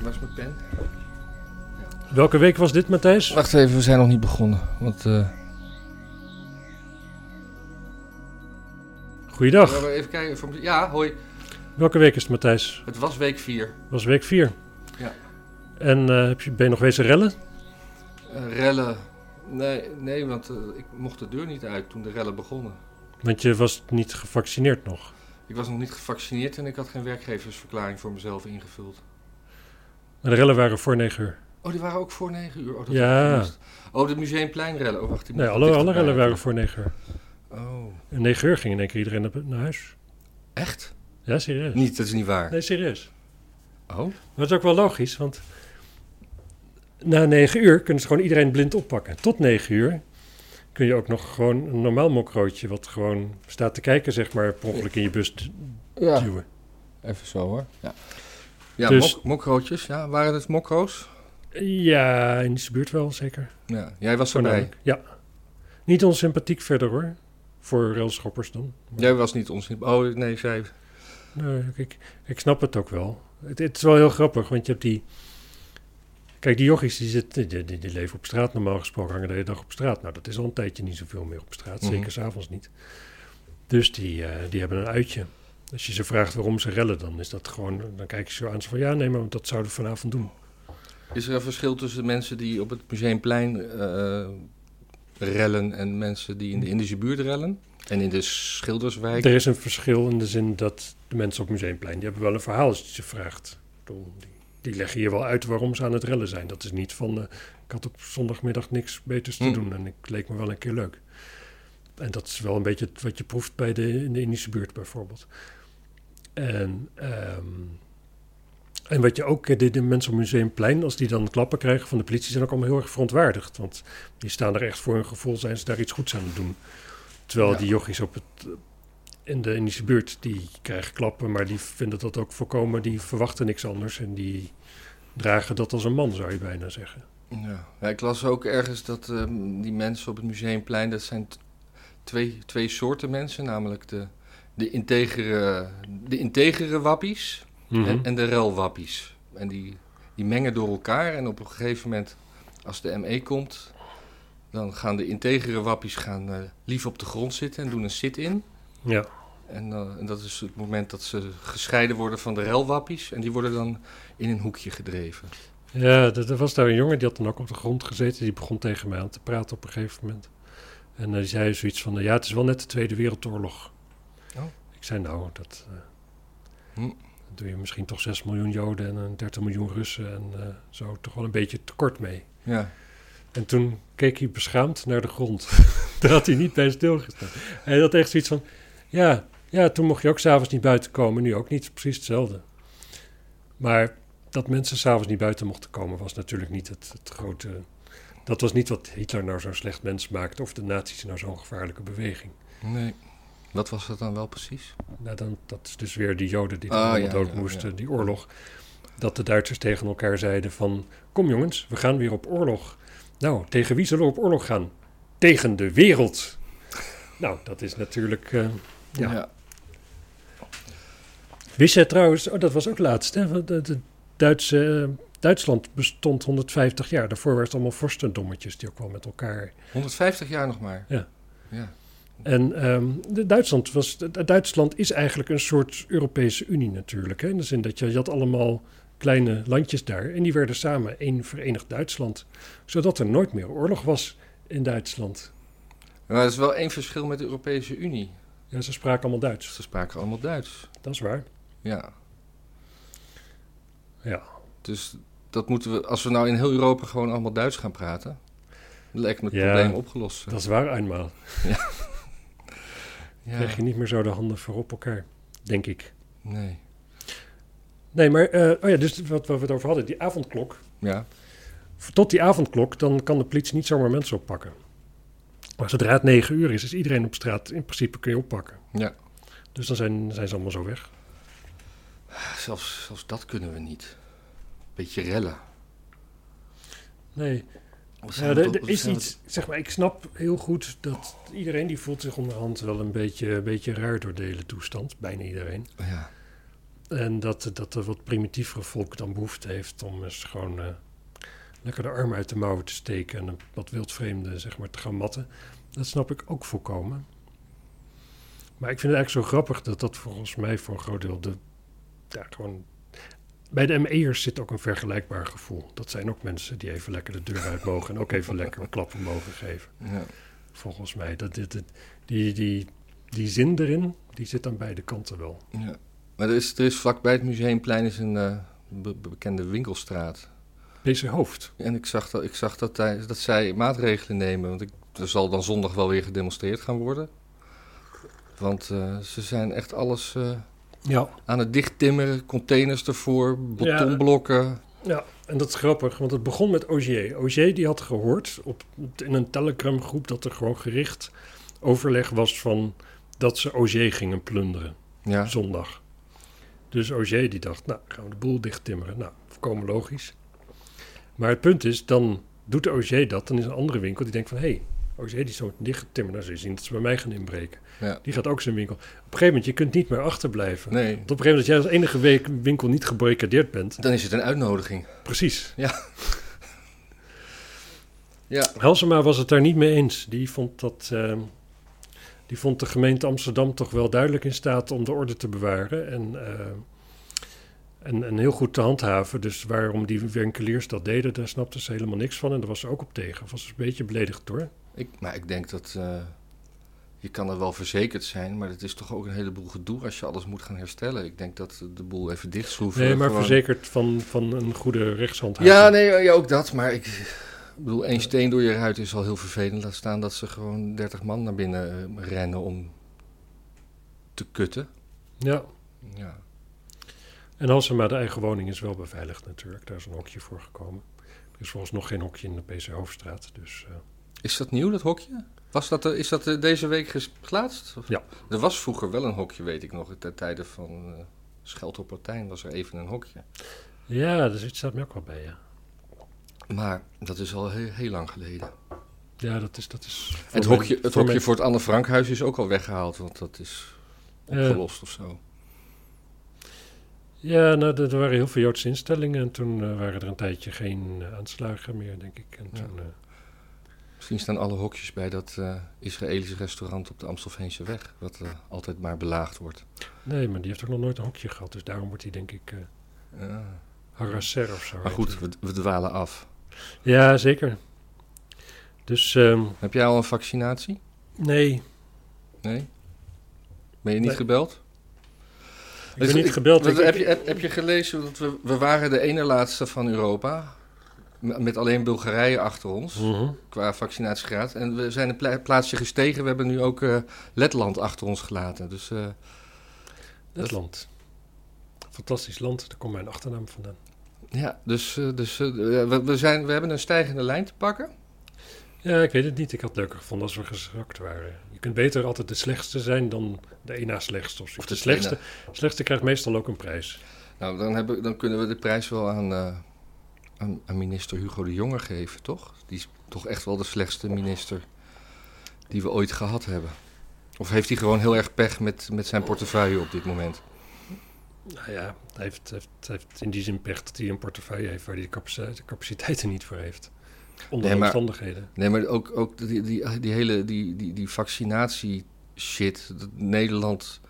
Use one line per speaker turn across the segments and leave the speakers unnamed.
Waar is mijn pen?
Welke week was dit, Matthijs?
Wacht even, we zijn nog niet begonnen. Want, eh,
Goeiedag.
laten we even kijken. of- Ja, hoi.
Welke week is het, Matthijs?
Het was week 4.
Was week 4.
Ja.
En eh, heb je, ben je nog wezen rellen?
Eh, rellen. Nee, nee want eh, ik mocht de deur niet uit toen de rellen begonnen.
Want je was niet gevaccineerd nog.
Ik was nog niet gevaccineerd en ik had geen werkgeversverklaring voor mezelf ingevuld.
Maar de rellen waren voor 9 uur.
Oh, die waren ook voor 9 uur. Oh, dat
Ja.
heb ik gemist. Oh, de museumplein Oh, wacht. die moet
Nee,
ik
alle, alle
dichterbij
rellen waren
hebben.
voor 9 uur.
Oh.
En 9 uur ging in één keer iedereen naar, naar huis.
Echt?
Ja, serieus.
Niet, dat is niet waar.
Nee, serieus.
Oh?
Maar het is ook wel logisch, want na negen uur kunnen ze gewoon iedereen blind oppakken. Tot negen uur kun je ook nog gewoon een normaal mokrootje, wat gewoon staat te kijken, zeg maar, per ongeluk in je bus d-
Ja,
duwen.
even zo hoor. Ja, ja
Dus-
mok- mokrootjes. Ja, waren het mokro's?
Ja, in die buurt wel, zeker.
Ja, jij was erbij.
Voornamelijk. Ja. Niet onsympathiek verder hoor, voor railschoppers dan.
Jij was niet ons. Oh, nee, zij...
Nee, ik, ik snap het ook wel. Het, het is wel heel grappig, want je hebt die... Kijk, die jochies die, zitten, die, die, die leven op straat normaal gesproken, hangen de hele dag op straat. Nou, dat is al een tijdje niet zoveel meer op straat,
Mhm.
zeker s'avonds niet. Dus die, eh, die hebben een uitje. Als je ze vraagt waarom ze rellen, dan is dat gewoon... Dan kijken ze zo aan ze van, ja, nee, maar want dat zouden we vanavond doen.
Is er een verschil tussen mensen die op het Museumplein eh, rellen en mensen die in de Indische buurt rellen? En in de Schilderswijk?
Er is een verschil in de zin dat de mensen op Museumplein, die hebben wel een verhaal als je ze vraagt. Ik bedoel, Die, die leggen hier wel uit waarom ze aan het rellen zijn. Dat is niet van, eh, ik had op zondagmiddag niks beters te
Hmm.
doen en ik leek me wel een keer leuk. En dat is wel een beetje het- wat je proeft bij de, in de Indische buurt bijvoorbeeld. En, ehm, en wat je ook, eh, de, de mensen op Museumplein, als die dan klappen krijgen van de politie, zijn ook allemaal heel erg verontwaardigd. Want die staan er echt voor hun gevoel, zijn ze daar iets goeds aan het doen. Terwijl
Ja.
die jochies op het, eh, in de Indische buurt, die krijgen klappen, maar die vinden dat ook voorkomen. Die verwachten niks anders en die dragen dat als een man, zou je bijna zeggen.
Ja. Ja, ik las ook ergens dat ehm, die mensen op het Museumplein, dat zijn t- twee, twee soorten mensen, namelijk de, de, integere, de integere wappies
Mhm.
en, en de relwappies. En die, die mengen door elkaar en op een gegeven moment, als de ME komt, dan gaan de integere wappies gaan, eh, lief op de grond zitten en doen een sit-in.
Ja,
En, eh, en dat is het moment dat ze gescheiden worden van de relwappies. En die worden dan in een hoekje gedreven.
ja er, er was daar een jongen die had dan ook op de grond gezeten. Die begon tegen mij aan te praten op een gegeven moment. En eh, die zei zoiets van: eh, Ja, het is wel net de Tweede Wereldoorlog.
Oh.
Ik zei: Nou, dat. eh,
Hm.
dan Doe je misschien toch 6 miljoen Joden en eh, 30 miljoen Russen en eh, zo toch wel een beetje tekort mee.
Ja.
En toen keek hij beschaamd naar de grond. Daar had hij niet bij stilgestaan. Hij had echt zoiets van... Ja, ja toen mocht je ook s'avonds niet buiten komen. Nu ook niet. Precies hetzelfde. Maar dat mensen s'avonds niet buiten mochten komen... was natuurlijk niet het, het grote... Dat was niet wat Hitler nou zo'n slecht mens maakte... of de nazi's nou zo'n gevaarlijke beweging.
Nee. Wat was dat dan wel precies?
Nou, dan, dat is dus weer die Joden die er
Ah,
allemaal
ja,
dood
ja,
moesten,
ja.
die oorlog. Dat de Duitsers tegen elkaar zeiden van... Kom jongens, we gaan weer op oorlog. Nou, tegen wie zullen we op oorlog gaan? Tegen de wereld. Nou, dat is natuurlijk... eh, Ja. Wist jij trouwens... Oh, dat was ook laatst, hè? want De, de Duitse, eh, Duitsland bestond 150 jaar. Daarvoor waren het allemaal vorstendommetjes die ook wel met elkaar
150 jaar nog maar.
Ja.
Ja.
En ehm, de Duitsland, was, de- Duitsland is eigenlijk een soort Europese Unie natuurlijk. Hè? In de zin dat je, je had allemaal kleine landjes daar. En die werden samen één verenigd Duitsland. Zodat er nooit meer oorlog was in Duitsland.
Maar dat is wel één verschil met de Europese Unie.
Ja, ze spraken allemaal Duits.
Ze spraken allemaal Duits.
Dat is waar.
Ja.
Ja.
Dus dat moeten we, als we nou in heel Europa gewoon allemaal Duits gaan praten, dan lijkt me het
Ja.
probleem opgelost.
Dat is waar eenmaal. Krijg
Ja.
je niet meer zo de handen voor op elkaar, denk ik.
Nee.
Nee, maar eh, oh ja, dus wat, wat we het over hadden, die avondklok.
Ja.
Tot die avondklok, dan kan de politie niet zomaar mensen oppakken. Maar zodra het negen uur is, is iedereen op straat. In principe kun je oppakken.
Ja.
Dus dan zijn, zijn ze allemaal zo weg.
Zelfs, zelfs dat kunnen we niet. Beetje rellen.
Nee,
Wat
ja,
zijn
er,
we
er
toch- wat
is
zijn we
iets. Zeg maar, ik snap heel goed dat iedereen die voelt zich onderhand wel een beetje, een beetje raar door de hele toestand. Bijna iedereen.
toch- Ja.
En dat, dat er wat primitievere volk dan behoefte heeft om eens gewoon eh, lekker de arm uit de mouwen te steken en een wat wildvreemden zeg maar, te gaan matten. Dat snap ik ook volkomen. Maar ik vind het eigenlijk zo grappig dat dat volgens mij voor een groot deel de. Ja, gewoon. Bij de ME'ers zit ook een vergelijkbaar gevoel. Dat zijn ook mensen die even lekker de deur uit mogen en ook even lekker een klap mogen geven.
Ja.
Volgens mij. Dat, dit, dit- die, die, die zin erin, die zit aan beide kanten wel.
Ja. Maar er is, er is vlakbij het museumplein is een eh, be- bekende winkelstraat.
Deze hoofd.
En ik zag dat, ik zag dat, hij- dat zij maatregelen nemen. Want ik, er zal dan zondag wel weer gedemonstreerd gaan worden. Want eh, ze zijn echt alles eh,
Ja.
aan het dichttimmeren. Containers ervoor, betonblokken.
Ja, en dat is grappig, want het begon met Ogier. Ogier die had gehoord op, in een telegramgroep dat er gewoon gericht overleg was van dat ze Ogier gingen plunderen
Ja.
zondag. Dus Ogier die dacht, nou gaan we de boel dicht timmeren. Nou, volkomen logisch. Maar het punt is, dan doet Ogier dat, dan is een andere winkel die denkt van hé, hey, Ogier die is zo dicht timmeren, nou ze zien dat ze bij mij gaan inbreken.
Ja.
Die gaat ook zijn winkel. Op een gegeven moment, je kunt niet meer achterblijven.
Nee,
Want op een gegeven moment, als jij als enige week winkel niet gebarricadeerd bent,
dan is het een uitnodiging.
precies.
Ja,
Halsema was het daar niet mee eens. Die vond, dat, eh, die vond de gemeente Amsterdam toch wel duidelijk in staat om de orde te bewaren en, eh, en, en heel goed te handhaven. Dus waarom die winkeliers dat deden, daar snapte ze helemaal niks van en daar was ze ook op tegen. Was ze een beetje beledigd door.
ik, maar ik denk dat... eh, je kan er wel verzekerd zijn, maar het is toch ook een heleboel gedoe als je alles moet gaan herstellen. Ik denk dat de boel even dichtschroeven.
Nee, maar
gewoon- eh,
verzekerd van, van een goede rechtshandhaving.
Ja, nee, ja, ook dat. Maar ik, ik bedoel, één steen door je ruit is al heel vervelend. Laat staan dat ze gewoon 30 man naar binnen eh, rennen om te kutten.
Ja.
Ja.
En Halsema, de eigen woning is wel beveiligd natuurlijk. Daar is een hokje voor gekomen. Er is volgens nog geen hokje in de PC Hoofdstraat, dus... eh,
Is dat nieuw, dat hokje? Was dat, er- is dat eh, deze week ges- geplaatst? Of-
Ja.
Er was vroeger wel een hokje, weet ik nog. Ten tijde van eh Scheld op Latijn was er even een hokje.
ja, dus het staat me ook wel bij, ja.
Maar dat is al heel, heel lang geleden.
Ja, dat is. Dat is voor
Het
mijn-
hokje, het
voor
hokje
mijn-
voor het Anne Frankhuis is ook al weggehaald, want dat is
Eh.
opgelost of zo.
Ja, nou, er er waren heel veel Joodse instellingen. En toen eh, waren er een tijdje geen eh, aanslagen meer, denk ik. En
Ja.
toen, eh,
Misschien staan alle hokjes bij dat eh, Israëlische restaurant op de Amstelveense weg, wat eh, altijd maar belaagd wordt.
nee, maar die heeft ook nog nooit een hokje gehad. Dus daarom wordt hij, denk ik, eh harasser of zo.
Maar
heet
goed,
die.
we, we dwalen af.
Ja, zeker. Dus ehm,
Heb jij al een vaccinatie?
nee,
Nee? Ben je niet
Nee.
gebeld?
ik ben niet gebeld.
Wat-
Ik-
heb, je, heb, heb je gelezen dat we, we waren de ene laatste van Europa, m- met alleen Bulgarije achter ons,
Mhm.
qua vaccinatiegraad. En we zijn een pla- plaatsje gestegen, we hebben nu ook eh, Letland achter ons gelaten. Dus eh,
Letland. Fantastisch land, daar komt mijn achternaam vandaan.
ja, dus, eh, dus eh, we, we, zijn, we hebben een stijgende lijn te pakken.
Ja, ik weet het niet. Ik had het leuker gevonden als we gezakt waren. Je kunt beter altijd de slechtste zijn dan de ena slechtste. Of, zo.
Of de
de slechtste, slechtste krijgt meestal ook een prijs.
Nou, dan, hebben, dan kunnen we de prijs wel aan, eh, aan, aan minister Hugo de Jonge geven, toch? Die is toch echt wel de slechtste minister die we ooit gehad hebben. Of heeft hij gewoon heel erg pech met, met zijn portefeuille op dit moment?
Nou ja, hij heeft, heeft, heeft in die zin pech dat hij een portefeuille heeft waar hij de capaciteit- de capaciteiten niet voor heeft. Onder
Nee,
de
maar-
omstandigheden.
Nee, maar ook, ook die, die, die hele die, die, die vaccinatie-shit. Dat Nederland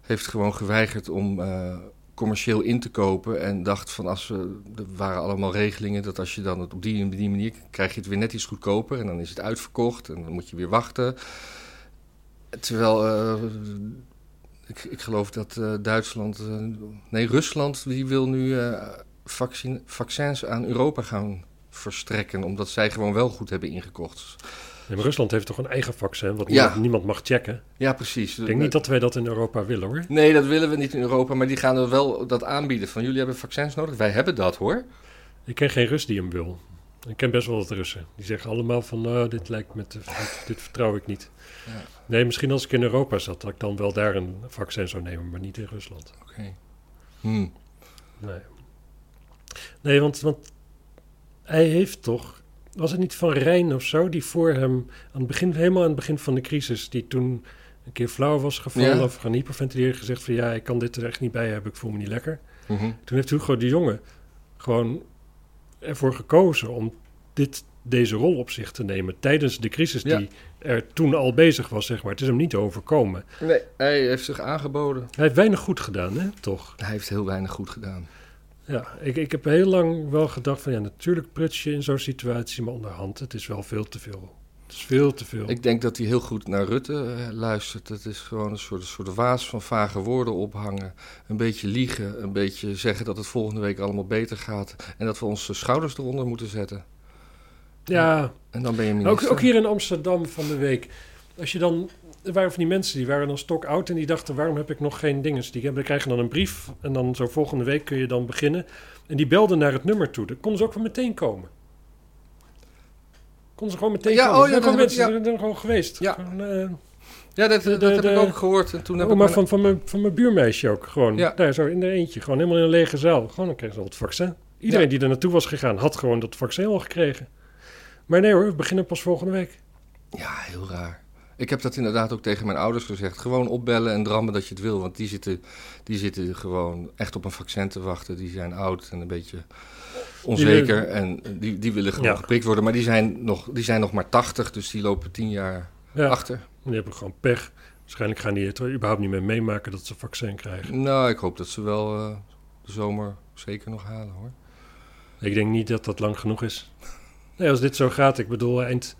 heeft gewoon geweigerd om eh, commercieel in te kopen. En dacht van als we. Er waren allemaal regelingen dat als je dan het op die, en die manier. krijg je het weer net iets goedkoper. En dan is het uitverkocht. En dan moet je weer wachten. Terwijl. eh, ik, ik geloof dat eh, Duitsland. eh, nee, Rusland. die wil nu eh, vaccin, vaccins aan Europa gaan verstrekken, omdat zij gewoon wel goed hebben ingekocht.
Nee, maar Rusland heeft toch een eigen vaccin, wat
Ja.
niemand, niemand mag checken.
Ja, precies.
Ik denk niet dat wij dat in Europa willen hoor.
Nee, dat willen we niet in Europa, maar die gaan er wel dat aanbieden. Van jullie hebben vaccins nodig, wij hebben dat hoor.
Ik ken geen Rus die hem wil. Ik ken best wel wat Russen. Die zeggen allemaal van, nou, dit lijkt me te... dit- Dit vertrouw ik niet.
Ja.
Nee, misschien als ik in Europa zat, dat ik dan wel daar een vaccin zou nemen, maar niet in Rusland.
Oké. Hm.
Nee, nee want, want hij heeft toch. Was het niet Van Rijn of zo die voor hem. Aan het begin, helemaal aan het begin van de crisis. die toen een keer flauw was gevallen
Ja.
of gaan hyperventileren, gezegd van ja, ik kan dit er echt niet bij hebben, ik voel me niet lekker.
Mhm.
Toen heeft Hugo de Jonge gewoon ervoor gekozen om dit, deze rol op zich te nemen tijdens de crisis
Ja.
die er toen al bezig was, zeg maar. Het is hem niet overkomen.
Nee, hij heeft zich aangeboden.
Hij heeft weinig goed gedaan, hè, toch?
Hij heeft heel weinig goed gedaan.
Ja, ik, ik heb heel lang wel gedacht van ja, natuurlijk pruts je in zo'n situatie, maar onderhand, het is wel veel te veel. Het is veel te veel.
Ik denk dat hij heel goed naar Rutte eh, luistert. Het is gewoon een soort, een soort waas van vage woorden ophangen. Een beetje liegen, een beetje zeggen dat het volgende week allemaal beter gaat. En dat we onze schouders eronder moeten zetten.
ja,
En dan ben je
ook,
minister.
ook hier in Amsterdam van de week. Als je dan, er waren van die mensen die waren dan stokoud en die dachten waarom heb ik nog geen dinges. Die hebben, krijgen dan een brief en dan zo volgende week kun je dan beginnen. En die belden naar het nummer toe. Dan konden ze ook wel meteen komen. Konden ze gewoon meteen
Ja,
komen.
oh
Er
ja,
zijn gewoon
dat heb ik-
mensen die zijn er gewoon geweest.
Ja.
Gewoon, eh,
Ja, dat,
de-
dat
de-
heb
de-
ik ook gehoord. En toen heb
Oh,
ik
maar
mijn-
van, van, mijn, van mijn buurmeisje ook. Gewoon
Ja.
daar zo in de eentje. Gewoon helemaal in een lege zaal. Gewoon, dan kreeg ze al het vaccin. Iedereen
Ja.
die er naartoe was gegaan, had gewoon dat vaccin al gekregen. Maar nee hoor, we beginnen pas volgende week.
Ja, heel raar. Ik heb dat inderdaad ook tegen mijn ouders gezegd. Gewoon opbellen en drammen dat je het wil. Want die zitten, die zitten gewoon echt op een vaccin te wachten. Die zijn oud en een beetje onzeker. En die, die willen gewoon
Ja.
geprikt worden. Maar die zijn, nog, die zijn nog maar 80, dus die lopen tien jaar
Ja,
achter.
die hebben gewoon pech. Waarschijnlijk gaan die het er überhaupt niet meer meemaken dat ze vaccin krijgen.
Nou, ik hoop dat ze wel eh, de zomer zeker nog halen hoor.
Ik denk niet dat dat lang genoeg is. Nee, als dit zo gaat, ik bedoel eind,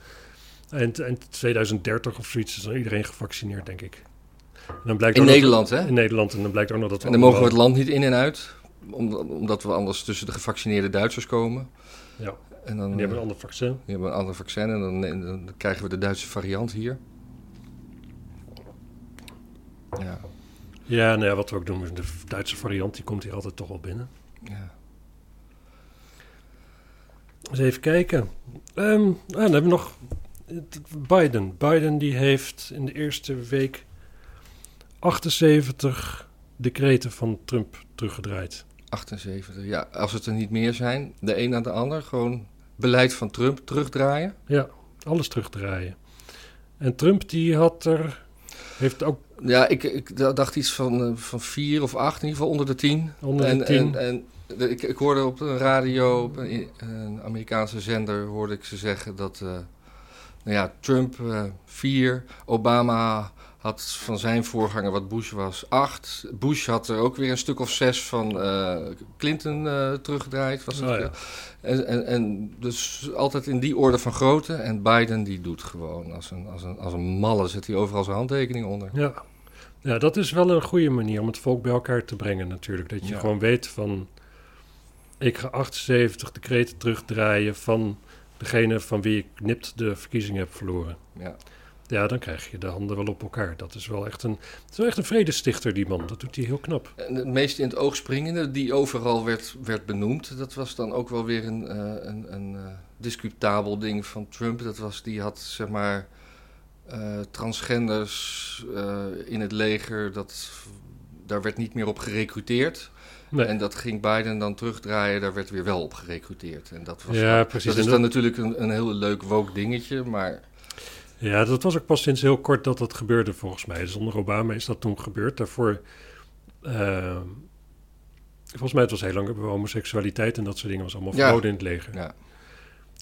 eind, eind 2030 of zoiets, is dan iedereen gevaccineerd, denk ik. En dan blijkt
In
ook nog-
Nederland, hè?
in Nederland. En dan blijkt ook nog dat we
En dan mogen we
allemaal-
het land niet in en uit. Omdat, omdat we anders tussen de gevaccineerde Duitsers komen.
Ja,
En dan,
en die hebben
eh,
een ander vaccin.
die hebben een ander vaccin en dan, en dan krijgen we de Duitse variant hier. Ja,
Ja, nou ja, wat we ook doen, de Duitse variant, die komt hier altijd toch wel binnen.
ja.
Dus even kijken. Ehm, ah, dan hebben we nog Biden. Biden die heeft in de eerste week 78 decreten van Trump teruggedraaid.
78. Ja, als het er niet meer zijn, de een aan de ander. Gewoon beleid van Trump terugdraaien.
Ja, alles terugdraaien. En Trump die had er, heeft ook
Ja, ik, ik dacht iets van, eh, van vier of acht, in ieder geval onder de tien.
onder de
en,
10.
En, en de- ik, ik hoorde op de radio, op een, een Amerikaanse zender, hoorde ik ze zeggen dat eh, nou ja, Trump 4, Obama had van zijn voorganger wat Bush was 8. Bush had er ook weer een stuk of zes van eh, Clinton eh, teruggedraaid. Was het,
Oh ja.
en, en, en dus altijd in die orde van grootte. En Biden die doet gewoon als een, als een, als een malle, zet hij overal zijn handtekening onder.
Ja. ja, dat is wel een goede manier om het volk bij elkaar te brengen natuurlijk. Dat je
Ja.
gewoon weet van... Ik ga 78 decreten terugdraaien van degene van wie ik nipt de verkiezing heb verloren.
Ja.
Ja, dan krijg je de handen wel op elkaar. Dat is wel echt een, het is wel echt een vredestichter, die man. Dat doet hij heel knap.
En het meest in het oog springende, die overal werd, werd benoemd, dat was dan ook wel weer een, eh, een, een eh, discutabel ding van Trump. Dat was, die had zeg maar eh, transgenders eh, in het leger, dat, daar werd niet meer op gerecruiteerd.
Nee.
En dat ging Biden dan terugdraaien, daar werd weer wel op gerecruiteerd. En dat was
ja, precies.
dat is
En
dan natuurlijk een, een heel leuk woke dingetje, maar
Ja, dat was ook pas sinds heel kort dat dat gebeurde volgens mij. Dus onder Obama is dat toen gebeurd. Daarvoor, eh, volgens mij het was heel lang hebben we homoseksualiteit en dat soort dingen was allemaal
Ja.
verboden in het leger.
Ja.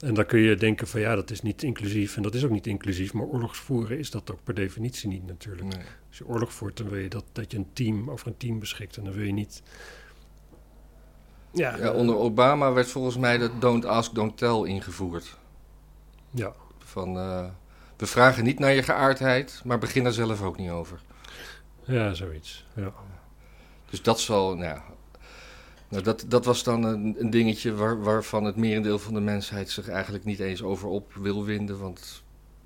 En dan kun je denken van ja, dat is niet inclusief en dat is ook niet inclusief. Maar oorlogsvoeren is dat ook per definitie niet natuurlijk.
nee.
Als je oorlog voert, dan wil je dat, dat je een team over een team beschikt. En dan wil je niet... Ja,
ja, onder Obama werd volgens mij dat don't ask, don't tell ingevoerd.
ja.
Van, eh, we vragen niet naar je geaardheid, maar begin er zelf ook niet over.
ja zoiets. Ja.
Dus dat zal, nou, ja, nou dat, dat was dan een, een dingetje waar, waarvan het merendeel van de mensheid zich eigenlijk niet eens over op wil winden. Want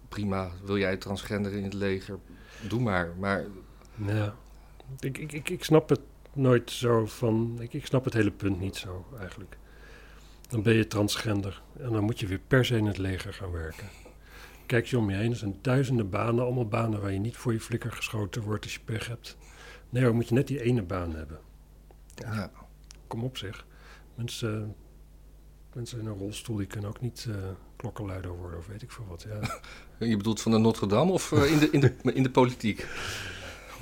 prima, wil jij transgender in het leger? Doe maar. Maar
Ja. Ik, ik, ik, ik snap het nooit zo van. Ik, ik snap het hele punt niet zo eigenlijk. Dan ben je transgender en dan moet je weer per se in het leger gaan werken. Kijk je om je heen, er zijn duizenden banen, allemaal banen waar je niet voor je flikker geschoten wordt als je pech hebt. Nee, dan moet je net die ene baan hebben.
ja,
Kom op zeg. Mensen, mensen in een rolstoel die kunnen ook niet eh, klokkenluider worden of weet ik veel wat. Ja.
Je bedoelt van de Notre Dame of eh, in, de, in, de, in de politiek?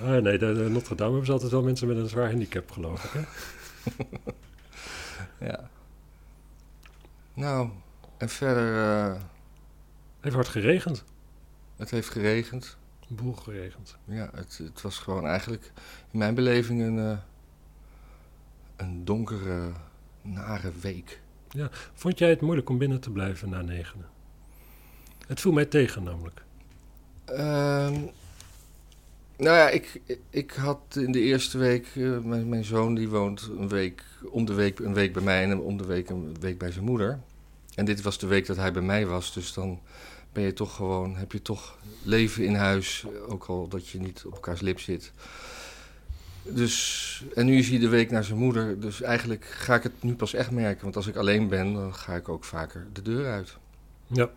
Ah, nee, de, de Notre Dame hebben ze altijd wel mensen met een zwaar handicap, geloof ik. Hè?
Ja. Nou, en verder, eh,
Even hard geregend.
het heeft geregend.
Een boel geregend.
Ja, het, het was gewoon eigenlijk in mijn beleving een, eh, een donkere, nare week.
Vond jij het moeilijk om binnen te blijven na negenen? Het viel mij tegen namelijk.
Ehm, nou ja, ik, ik had in de eerste week, eh, mijn, mijn zoon die woont een week, om de week een week bij mij en om de week een week bij zijn moeder. En dit was de week dat hij bij mij was, dus dan ben je toch gewoon, heb je toch leven in huis, ook al dat je niet op elkaars lip zit. Dus, en nu is hij de week naar zijn moeder, dus eigenlijk ga ik het nu pas echt merken, want als ik alleen ben, dan ga ik ook vaker de deur uit.
Ja,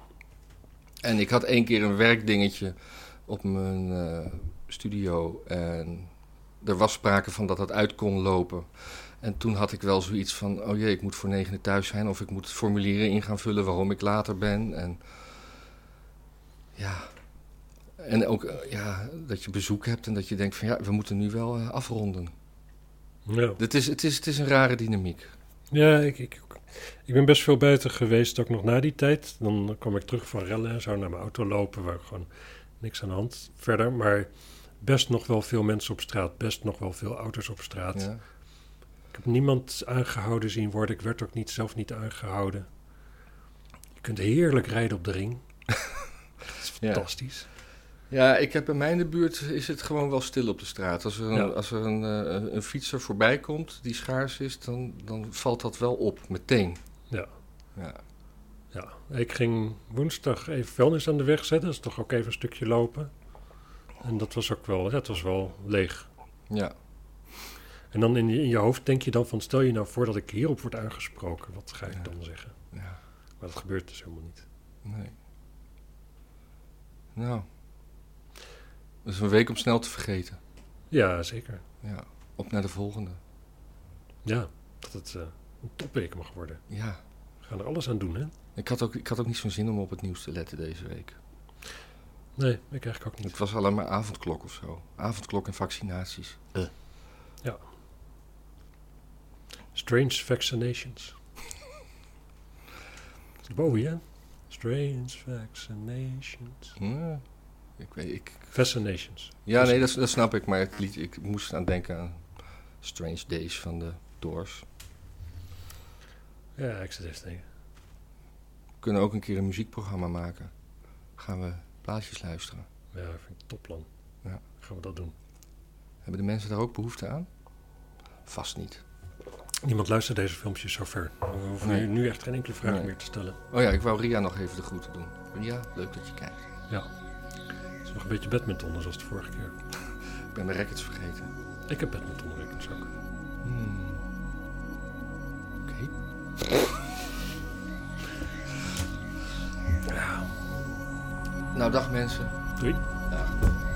En ik had één keer een werkdingetje op mijn eh, studio. En er was sprake van dat dat uit kon lopen. En toen had ik wel zoiets van: oh jee, ik moet voor negenen thuis zijn. Of ik moet formulieren in gaan vullen waarom ik later ben. En ja. En ook eh, ja, dat je bezoek hebt en dat je denkt: van ja, we moeten nu wel eh, afronden.
ja.
Het is, het, is, het is een rare dynamiek.
ja ik, ik, ik ben best veel buiten geweest, ook nog na die tijd. Dan kwam ik terug van rellen en zo naar mijn auto lopen, waar gewoon niks aan de hand verder. Maar best nog wel veel mensen op straat, best nog wel veel auto's op straat.
Ja.
Ik heb niemand aangehouden zien worden. Ik werd ook niet, zelf niet aangehouden. Je kunt heerlijk rijden op de ring. Dat is
Ja.
fantastisch.
Ja, ik heb bij mij in de buurt is het gewoon wel stil op de straat. Als er een,
Ja.
als er een, eh, een fietser voorbij komt die schaars is, dan, dan valt dat wel op meteen.
Ja.
Ja,
Ja, ik ging woensdag even vuilnis aan de weg zetten. Dus toch ook even een stukje lopen. En dat was ook wel, dat was wel leeg.
ja.
En dan in je, in je hoofd denk je dan van... stel je nou voor dat ik hierop word aangesproken. Wat ga ik
Ja.
dan zeggen?
ja
Maar dat gebeurt dus helemaal niet.
nee. Nou, dat is een week om snel te vergeten.
Ja, zeker.
Ja, op naar de volgende.
Ja, dat het eh, een topweek mag worden.
Ja,
We gaan er alles aan doen, hè?
ik had ook, ik had ook niet zo'n zin om op het nieuws te letten deze week.
Nee, ik eigenlijk ook niet.
Het was alleen maar avondklok of zo. Avondklok en vaccinaties.
Strange vaccinations. Dat is Bowie, hè? Strange vaccinations.
Ja, ik weet, ik
Fascinations.
Ja,
Dus-
nee, dat, dat snap ik. Maar het lied, ik moest aan denken aan Strange Days van de Doors.
Ja, ik zit even te denken.
We kunnen ook een keer een muziekprogramma maken. Gaan we plaatjes luisteren.
Ja, ik vind ik een topplan.
Ja.
Gaan we dat doen.
Hebben de mensen daar ook behoefte aan? Vast niet.
Niemand luistert deze filmpjes zover. We hoeven
Nee.
nu, nu echt geen enkele vraag
Nee.
meer te stellen.
Oh ja, ik wou Ria nog even de groeten doen. Ria, leuk dat je kijkt.
Het is nog een beetje badmintonnen zoals de vorige keer.
Ik ben mijn rackets vergeten.
Ik heb badmintonrecords ook.
Hmm. Oké. Nou, dag mensen.
Doei.
Dag.